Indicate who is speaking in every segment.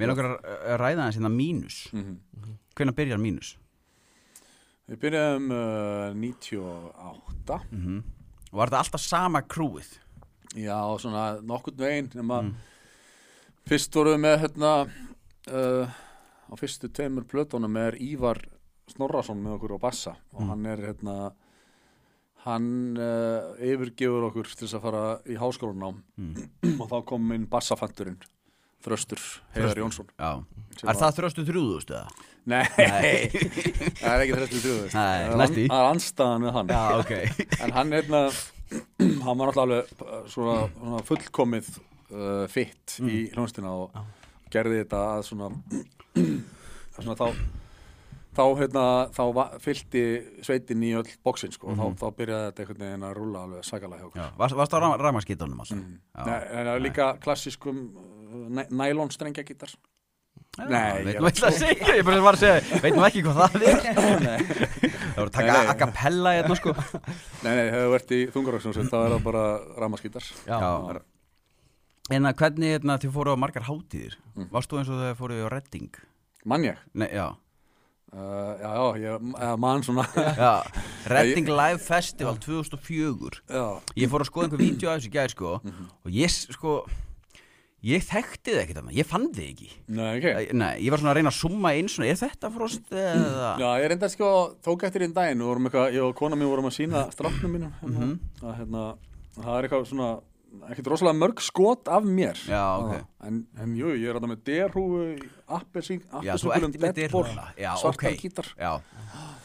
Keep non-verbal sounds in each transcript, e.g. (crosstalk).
Speaker 1: Mér langar að að ræða hans hérna mínus Hvenær byrjar mínus?
Speaker 2: Við byrjaðum
Speaker 1: um, eh,
Speaker 2: uh, 98
Speaker 1: Mhm. Var þetta alltaf sama krúið?
Speaker 2: Já, svona nokkurn veginn nema
Speaker 1: Mm.
Speaker 2: fyrst vorum við með hérna uh, á fyrstu tveimur plötunum er Ívar Snorrason með okkur á bassa
Speaker 1: Mm.
Speaker 2: og hann er hérna hann uh, yfirgefur okkur til þess að fara í háskólanám
Speaker 1: Mm.
Speaker 2: og þá kom inn bassafanturinn Þröstur Heiðar Jónsson
Speaker 1: Já
Speaker 2: Sem
Speaker 1: Er það þröstu þrjúðust eða?
Speaker 2: Nei, það er ekki Þröstur Þrjóður
Speaker 1: Nei,
Speaker 2: það er
Speaker 1: næst í.
Speaker 2: an- það er anstaðan við hann
Speaker 1: Já, ok
Speaker 2: en hann hérna hann var náttúrulega alveg uh, svona, svona fullkomið uh, fitt í hljónstina og gerði þetta að svona, svona þá þá, hérna, þá va- fyllti sveitin í öll bóksin sko, og þá, þá byrjaði þetta einhvern veginn að rúla alveg sagalega hjá okkur
Speaker 1: Já, Varst varstu á ræmaskítunum alltaf?
Speaker 2: Mm. Nei, en það er líka klassískum uh, nælón strengja gítar Nei,
Speaker 1: Veit
Speaker 2: ég-
Speaker 1: nú eitthvað að segja, ég bara var að segja Veit nú ekki hvað
Speaker 2: (laughs)
Speaker 1: það er Það voru að taka
Speaker 2: Nei, nei.
Speaker 1: a cappella hérna sko
Speaker 2: Nei, nei, hefur verið í þungaröksunsum þá er það bara ramaskítar
Speaker 1: Já En að hvernig hérna þið fóru á margar hátíðir
Speaker 2: Mm.
Speaker 1: Varst þú eins og þau fóru á Redding?
Speaker 2: Mann ég?
Speaker 1: Nei, já
Speaker 2: (laughs) Uh, já, já, ég eh, man svona
Speaker 1: Já, Redding Live Festival 2004
Speaker 2: Já,
Speaker 1: Ég fór að skoða einhver vídeo af þessu í gær sko
Speaker 3: Mhm.
Speaker 1: og ég s- sko ég þekkti það ekkert annað, ég fann þið ekki
Speaker 2: nei, ok
Speaker 1: Æ, Nei, ég var svona að reyna að summa inn svona, er þetta frost eða
Speaker 3: Mm.
Speaker 2: Já, ég reyndar sko tók eftir einn daginn, við vorum eitthvað, ég og kona mín vorum að sína stráknum mínum hérna,
Speaker 1: Mhm.
Speaker 2: að hérna, það er eitthvað svona ekkert rosalega mörg skot af mér
Speaker 1: Já, ok.
Speaker 2: en, en jú, ég er þetta með derhúfu appelsín,
Speaker 1: Já, þú
Speaker 2: appelsíkulum,
Speaker 1: ert með
Speaker 2: deadball
Speaker 1: dyrna Já,
Speaker 2: svartar
Speaker 1: ok
Speaker 2: gítar
Speaker 1: Já,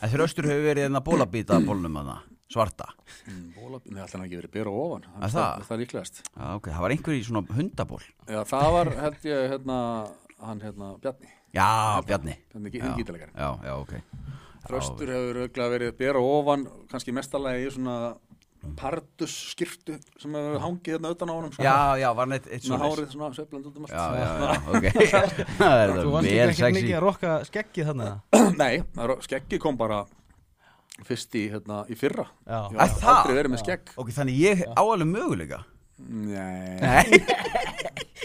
Speaker 1: en þeir austur hefur verið enna bólabýta bólnum hana, svarta
Speaker 2: Mm, bóla- Nei, alltaf hann ekki verið bera ofan
Speaker 1: Er það?
Speaker 2: það er líklegast
Speaker 1: Já, ok, það var einhver í svona hundaból
Speaker 2: Já, það var, held ég, hérna hann, hérna, Bjarni
Speaker 1: Já, Bjarni
Speaker 2: Bjarni Gí-
Speaker 1: Já,
Speaker 2: gítarleikari.
Speaker 1: Já, já, ok
Speaker 2: Þröstur hefur auðvitað verið bera ofan kannski mestalagi í svona pardus skirtu sem hefur hangið hérna utan á honum sko.
Speaker 1: Já, já, var neitt eitt
Speaker 2: Svona
Speaker 1: svoleiðis.
Speaker 2: hárið svona sveifland út um allt
Speaker 1: Já, já, já, ok (laughs) Það er
Speaker 3: Þú
Speaker 1: það
Speaker 3: varst ekki
Speaker 1: vel
Speaker 3: ekkert
Speaker 1: sexy
Speaker 3: mikið að rokka skeggið þannig
Speaker 2: (clears throat) Nei, það er- skeggi kom bara fyrst í, hérna, í fyrra
Speaker 3: Já.
Speaker 2: Ég
Speaker 1: Er
Speaker 2: hef
Speaker 1: það?
Speaker 2: Aldrei verið með skegg
Speaker 1: Ok, þannig ég á alveg möguleika (laughs)
Speaker 2: Nei,
Speaker 1: Nei,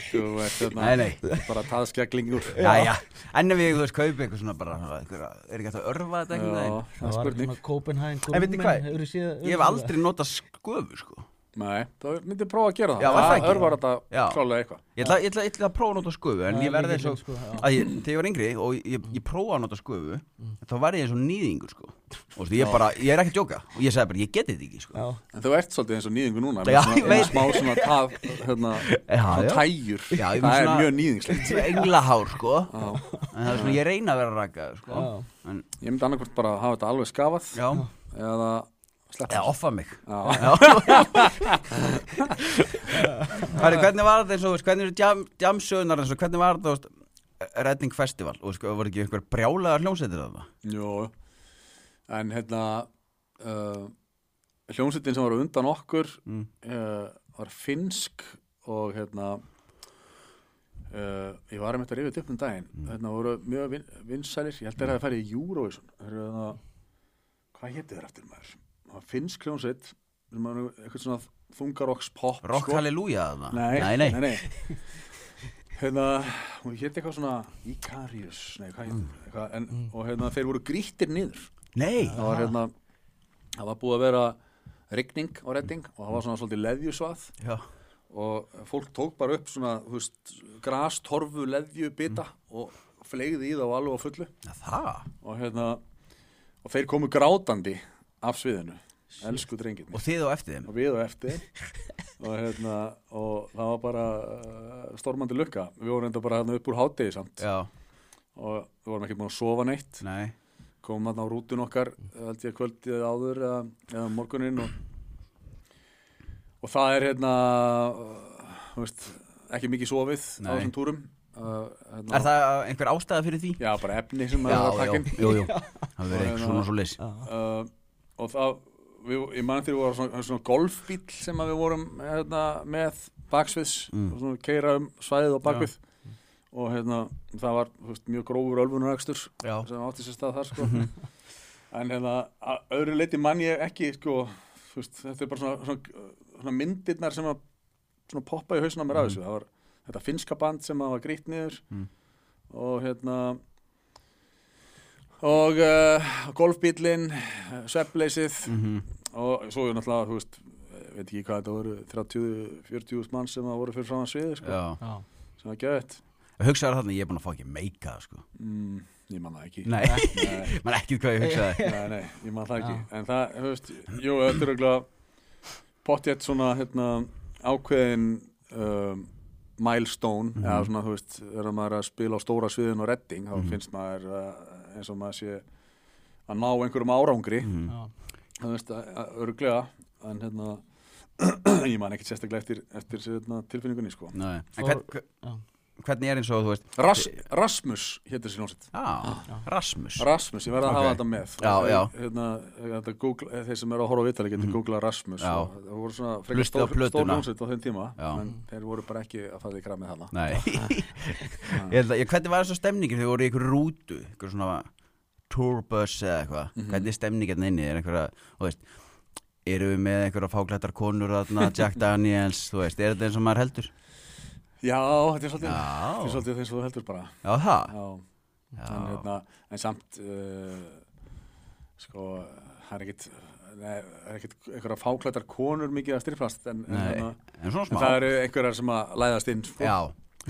Speaker 2: þú ert hérna
Speaker 1: Nei, nei.
Speaker 2: bara að taða skegglingur
Speaker 1: já, já En ef ég, þú veist, kaupi eitthvað svona bara einhverja, Er ekki hægt að örfa þetta einhvern
Speaker 2: Já,
Speaker 1: veginn?
Speaker 2: það er
Speaker 3: var ekki
Speaker 2: spurning
Speaker 3: svona Copenhagen
Speaker 1: En veitir hvað?
Speaker 3: Grummen, hefurðu séð-
Speaker 1: Ég hef aldrei notað sköfu, sko
Speaker 2: Nei, það myndi prófa að gera það
Speaker 1: Já, var það
Speaker 2: Það
Speaker 1: ekki?
Speaker 2: örvar þetta
Speaker 1: Já.
Speaker 2: klálega eitthvað
Speaker 1: Ég ætla, ég ætla, ég ætla að prófa að nota sköfu En
Speaker 3: Já,
Speaker 1: ég verði
Speaker 3: mikið
Speaker 1: eins og
Speaker 3: sko, já.
Speaker 1: að ég, Þegar ég var yngri og ég, ég prófa að nota sköfu Þá var ég eins og nýðingur, sko Og þú veist, ég bara, ég er ekki að djóka Og ég sagði bara, ég geti þetta ekki, sko
Speaker 3: Já,
Speaker 2: En þú ert svolítið eins og nýðingu núna
Speaker 1: Já, ég
Speaker 2: með svona,
Speaker 1: veit.
Speaker 2: Smá svona tað, hérna,
Speaker 1: (laughs) Já, já.
Speaker 2: svona tægjur
Speaker 1: Já, ég er með
Speaker 2: Það er
Speaker 1: svona-
Speaker 2: mjög nýðingslegt
Speaker 1: Svo englahár, sko En það er svona, ég reyna að vera raka, sko En,
Speaker 2: Ég myndi annarkvort bara hafa þetta alveg skafað
Speaker 1: já,
Speaker 2: Eða sleppa
Speaker 1: eða offa mig
Speaker 2: Já.
Speaker 1: Hvernig, hvernig var þetta eins og þú veist, hvernig eru jam, jamsögunar eins og hvernig var þetta þú veist, Redding Festival og sko, voru ekki einhver brjálagar hljómsveitir þarna?
Speaker 2: Jó, en hérna uh, hljómsveitin sem var á undan okkur uh, var finnsk og hérna uh, ég var að mynda að rifja þetta upp um daginn hérna voru mjög vin, vinsælir ég held að það færi í Eurovision Þeir eru þarna, hvað hétu þeir aftur maður? Það var finnsk hljómsveit sem var nú eitthvað svona þungarokks pop
Speaker 1: Rock
Speaker 2: sko.
Speaker 1: Hallelujah þarna?
Speaker 2: Nei, (laughs)
Speaker 1: nei, nei.
Speaker 2: Hérna, hún hétt eitthvað svona Ikarius, nei, hvað hétt
Speaker 1: Mm.
Speaker 2: eitthvað, en, og hérna, þeir voru grýttir niður
Speaker 1: Nei.
Speaker 2: það var hérna það var búið að vera rigning á redding og það var svona svolítið leðjusvað
Speaker 1: Já.
Speaker 2: og fólk tók bara upp svona þú veist, grastorfu leðju bita
Speaker 1: Mm.
Speaker 2: og fleigði í það og alveg á fullu
Speaker 1: Ja, það?
Speaker 2: og hérna og þeir komu grátandi af sviðinu elsku drengirni
Speaker 1: Og þið á eftir þeim?
Speaker 2: og við og
Speaker 1: (laughs)
Speaker 2: eftir og, hérna, og það var bara uh, stormandi lukka, við vorum enda bara hérna upp úr hádegi samt
Speaker 1: Já.
Speaker 2: og við vorum ekki búin að sofa neitt
Speaker 1: Nei.
Speaker 2: komum þarna á rútun okkar uh, held ég kvöldið áður eða, eða morguninn og, og það er hérna uh, þú veist, ekki mikið sofið á
Speaker 1: Nei.
Speaker 2: þessum túrum uh, hérna,
Speaker 1: Er það einhver ástæða fyrir því?
Speaker 2: já, bara efni sem er að
Speaker 1: jú,
Speaker 2: pakkin
Speaker 1: jú, jú. Það verið eitthvað svona svo leys.
Speaker 2: uh, og það við, ég man þegar við vorum svona, svona golfbíl sem að við vorum hérna, með baksviðs og svona keira um svæðið og bakvið og hérna, það var þú veist, mjög grófur ölfunarakstur
Speaker 1: Já.
Speaker 2: sem átti sér stað þar
Speaker 1: Mhm.
Speaker 2: sko. en hérna, að öðru leiti man ég ekki sko, þú veist, þetta er bara svona, svona, svona myndirnar
Speaker 1: Mhm.
Speaker 2: sem að svona poppa í hausna mér af þessu það var þetta finska band sem að var grýtt niður og hérna og uh, golfbílin sveppleysið
Speaker 1: Mhm.
Speaker 2: og svo er náttúrulega, þú veist eh, veit ekki hvað þetta voru, 30-40 mann sem það voru fyrir fram að sviði, sko,
Speaker 1: Já.
Speaker 3: Já.
Speaker 2: sem það gæðið
Speaker 1: Hugsaður þarna, ég er búin að fá ekki meika það sko
Speaker 2: mm, ég manna ekki
Speaker 1: Nei,
Speaker 2: nei,
Speaker 1: maður ekki hvað (laughs) ég
Speaker 2: (laughs)
Speaker 1: hugsaði
Speaker 2: nei, nei, ég manna það ekki en það, þú veist, jú, þetta er auðvitað pottjætt svona hérna, ákveðin um, milestone eða svona, þú veist, þegar maður er að spila á stóra sviðin og redding, þá finnst maður uh, eins og maður sé að ná einhverjum árangri
Speaker 1: Mhm.
Speaker 3: Já.
Speaker 2: þú veist, örglega en hérna (clears throat) ég man ekkert sérstaklega eftir, eftir hérna, tilfinningunni sko.
Speaker 1: Nei. En
Speaker 3: Og-
Speaker 1: hvern, hvern-
Speaker 3: Já.
Speaker 1: hvernig er eins og þú veist
Speaker 2: Ras, Rasmus hétur sér náttúrulega
Speaker 1: Já, Rasmus
Speaker 2: Rasmus, ég verði að
Speaker 1: Ok.
Speaker 2: hafa þetta með
Speaker 1: Já, já. Mhm.
Speaker 2: Hérna, hérna, Google, þeir sem eru að horfa á vitali getur mm. googlað Rasmus
Speaker 1: Já.
Speaker 2: og það voru svona frekar
Speaker 1: Hlustið á
Speaker 2: stór, stór
Speaker 1: plötuna.
Speaker 2: hljómsveit á þeim tíma
Speaker 1: Já.
Speaker 2: en þeir voru bara ekki að fara í kramið hana
Speaker 1: (laughs) Nei Ég held að, ég, hvernig var þess að stemningin þegar voru í ykkur rútu ykkur svona tourbus eða eitthvað hvernig er stemningin inni er einhverja, þú veist eru við með einhverja fáklættar konur (laughs) þarna, Jack Daniels, þú veist, er þetta eins og maður heldur?
Speaker 2: Já, þetta er svolítið,
Speaker 1: Já.
Speaker 2: þetta er svolítið þeim sem þú heldur bara
Speaker 1: Já, það?
Speaker 2: Já, En, hérna, en samt uh, sko, það er ekkit Nei, það er ekkit einhverja fáklættar konur mikið að styrfast en, en,
Speaker 1: Nei,
Speaker 2: hérna,
Speaker 1: en svona
Speaker 2: en
Speaker 1: smá
Speaker 2: það eru einhverjar sem að læðast inn sko.
Speaker 1: Já,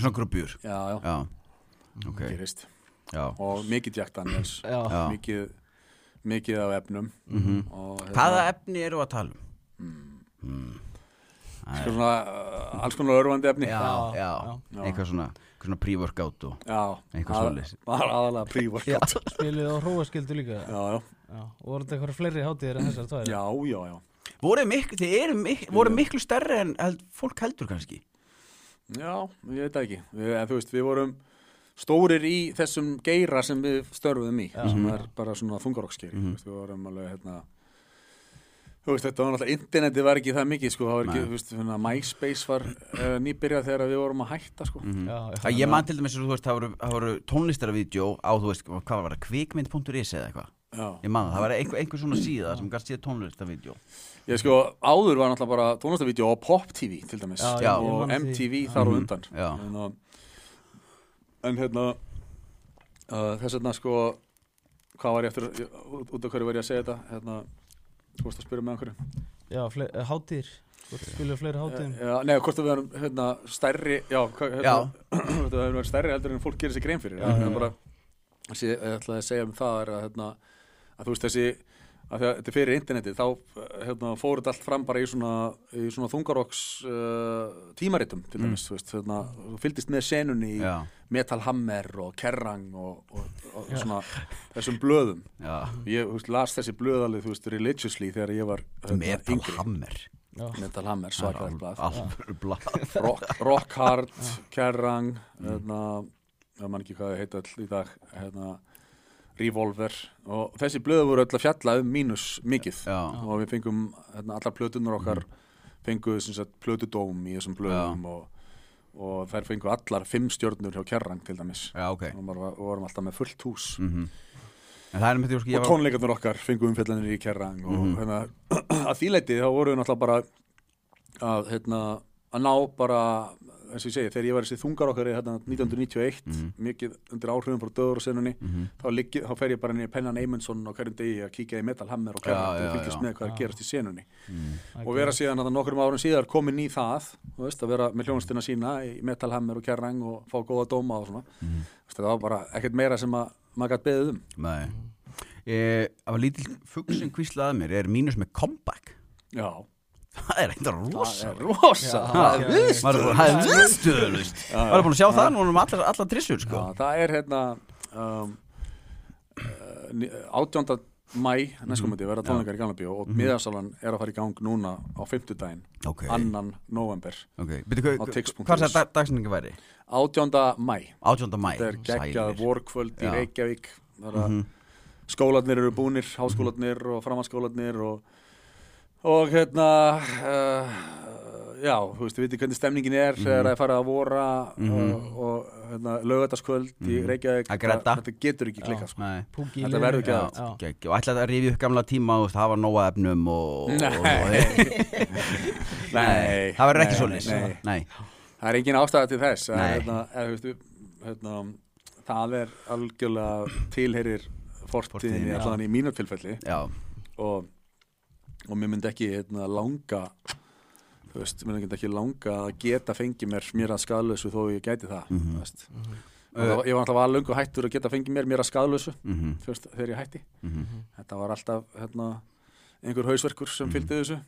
Speaker 1: svona grubjur
Speaker 2: já, já,
Speaker 1: Já, ok
Speaker 2: gerist
Speaker 1: já.
Speaker 2: og mikið Jack Daniels
Speaker 3: Já.
Speaker 1: Já. Mhm.
Speaker 2: mikið, mikið af efnum
Speaker 1: Mm.
Speaker 2: og hérna, mm,
Speaker 1: Hvaða efni eru að tala um? Hmm.
Speaker 2: sko svona, uh, alls konar örvandi efni
Speaker 1: Já,
Speaker 3: Já,
Speaker 1: já,
Speaker 2: já.
Speaker 1: eitthvað svona, eitthvað svona pre-workout og
Speaker 2: já
Speaker 1: Eitthvað
Speaker 2: að-
Speaker 1: svoleiðis.
Speaker 2: bara aðalega prívorkjátt já.
Speaker 3: Spiluðu á hróaskildu líka
Speaker 2: já, já,
Speaker 3: Já. Og voru þetta eitthvað fleiri hátíðir en þessar tvær?
Speaker 2: já, já, já
Speaker 1: Voru miklu, þið eru miklu, voru miklu stærri en held, fólk heldur kannski
Speaker 2: ég veit það ekki við, en, þú veist, við vorum stórir í þessum geira sem við störfum í
Speaker 1: Mhm.
Speaker 2: sem er bara svona þungarokkskeri mm -hmm. við vorum alveg hérna Þú veist, þetta var náttúrulega, internetið var ekki það mikið, sko, það var ekki,
Speaker 1: Nei.
Speaker 2: þú veist, hérna, MySpace var uh, nýbyrjað þegar við vorum að hætta, sko.
Speaker 1: Mm.
Speaker 3: Já, já.
Speaker 1: Það Mhm. ég man til dæmis, þú veist, það voru, það voru tónlistaravídjó á, þú veist, hvað var það, kvikmynd.is eða eitthvað
Speaker 2: Já.
Speaker 1: Ég man það, það var einhver, einhver svona síða sem gæst síða tónlistaravídjó
Speaker 2: Ég sko, áður var náttúrulega bara tónlistavídeó á Pop TV til dæmis
Speaker 3: Já,
Speaker 1: Já. Mhm.
Speaker 3: ég
Speaker 2: og
Speaker 3: man því.
Speaker 2: MTV þar og undan
Speaker 1: Já.
Speaker 2: en, að- en hérna uh, þess vegna sko hvað var ég eftir, ég- út út af hverju var ég að segja þetta hérna, þú vorst að spyrja með einhverju
Speaker 3: Já, fle- eh, hátíðir Þú spiluðu fleiri hátíðum
Speaker 2: já, Nei, hvort að við erum hérna, stærri já, hva, hérna,
Speaker 1: Já.
Speaker 2: (clears throat) hvort að við erum stærri heldur en fólk gerir sér grein fyrir
Speaker 3: Já,
Speaker 2: Það
Speaker 3: já,
Speaker 2: er
Speaker 3: já.
Speaker 2: bara, þessi, ég ætlaði að segja um það er að, hérna, að þú veist þessi að því að þetta er fyrir internetið þá hérna, fór þetta allt fram bara í svona, í svona þungarokks uh, tímaritum til dæmis, þú veist, hérna, þú fylgdist með senunni í
Speaker 1: Já,
Speaker 2: Metal Hammer og Kerrang og, og, og svona þessum blöðum
Speaker 1: já,
Speaker 2: ég þú veist, las þessi blöðalið, þú veist, religiously þegar ég var hérna,
Speaker 1: metal
Speaker 2: yngri.
Speaker 1: hammer
Speaker 2: Metal
Speaker 1: Það
Speaker 2: Hammer,
Speaker 1: er
Speaker 2: svakalegt
Speaker 1: al-
Speaker 2: blað
Speaker 1: Alvöru blað
Speaker 2: Rock, rock Hard, Kerrang hérna, ég man ekki hvað þau heita all í dag hérna, Revolver og þessi blöðu voru öll að fjalla um mínus mikið
Speaker 1: (laughs) Já.
Speaker 2: og við fengum hérna, allar plötunar okkar fengu sem sagt, plötudóm í þessum blöðum og, og þær fengu allar fimm stjörnur hjá Kerrang til dæmis
Speaker 1: Já, ok
Speaker 2: og maður var- og vorum alltaf með fullt hús
Speaker 1: Mhm. En það er með því, sko, ég
Speaker 2: og
Speaker 1: var Mhm.
Speaker 2: tónleikarnir okkar fengu umfjallanir í kerrang og hérna, (clears throat) að því leiti þá voru við náttúrulega bara að, hérna, að ná bara eins og ég segi, þegar ég var þessi þungar okkar hérna, 1991,
Speaker 1: Mhm.
Speaker 2: mikið undir áhrifum frá döður og senunni, þá, liggi, þá fer ég bara niður Pennan Eymundsson á hverjum degi að kíkja í Metal Hammer og kerrang
Speaker 1: Já,
Speaker 2: og
Speaker 1: já,
Speaker 2: fylgjast
Speaker 1: já.
Speaker 2: með hvað er að gerast í senunni
Speaker 1: Mhm.
Speaker 3: Ok.
Speaker 2: og vera síðan að nokkrum árum síðar komin í það þú veist, að vera með hljónstina sína í Metal Hammer og kerrang og fá góða dóma og svona,
Speaker 1: Mhm.
Speaker 2: Þú veist, það var bara ekkert meira sem að maður gætt beðið um
Speaker 1: Nei Eh, Það var lítill fugg sem hvíslaði að mér Er mínus með comeback (laughs)
Speaker 2: Já,
Speaker 1: Það er eitthvað rosa
Speaker 2: Það er rosa Það er viðst
Speaker 1: Maður er búinn- Það er viðstöðulust Maður er búin að sjá það Núna um allar, allar trissur sko
Speaker 2: Já, Það er hérna um, uh, ni- 18. mæ
Speaker 1: Mhm.
Speaker 2: næstkomandi verða tónleikar í Galnabíu og miðasalan er að fara í gang núna á 50 daginn
Speaker 1: Ok,
Speaker 2: annan november
Speaker 1: ok Býtu, hva,
Speaker 2: Á tix.is.
Speaker 1: Hvað sagði dag, dagsningi væri?
Speaker 2: 18. mæ
Speaker 1: 18. mæ
Speaker 2: þetta er geggjað
Speaker 1: Sælir.
Speaker 2: vorkvöld í
Speaker 1: Já. Mhm.
Speaker 2: Reykjavík þar að skólanir eru búnir háskólanir og framhanskólanir og, og hérna uh, já, þú veist, við veitum hvernig stemningin er
Speaker 1: Mhm.
Speaker 2: þegar það er farið að vora og, og hérna, lögataskvöld í Reykjavík
Speaker 1: Mhm. Að gredda.
Speaker 2: þetta getur ekki klikkað sko.
Speaker 1: Nei
Speaker 3: Púki í
Speaker 2: Þetta
Speaker 3: liðinu.
Speaker 2: verður ekki
Speaker 1: Já,
Speaker 2: að-
Speaker 3: Já.
Speaker 1: geggjað. Og ætlaði að rifja upp gamla tíma og hafa nóa efnum og, og, og
Speaker 2: nei,
Speaker 1: Það verður ekki
Speaker 2: nei,
Speaker 1: svolítið
Speaker 2: nei.
Speaker 1: Nei,
Speaker 2: það er engin ástæða til þess að,
Speaker 1: Nei.
Speaker 2: hérna, eða, þú veist, við- hérna, það er algjörlega tilherir fortíðinni
Speaker 1: Fortíðinni, já.
Speaker 2: allan í mínu tilfelli
Speaker 1: já,
Speaker 2: og, og mér myndi ekki hérna, langa þú veist, mér myndi ekki langa að geta fengið mér mér að skadlösu þó ég gæti það mm
Speaker 1: Mhm.
Speaker 2: veist. Og það var- ég var alltaf að löngu hættur að geta fengið mér mér að skadlösu
Speaker 1: mhm,
Speaker 2: veist, þegar ég hætti
Speaker 1: mhm,
Speaker 2: þetta var alltaf hérna, einhver hausverkur sem fylgdi þessu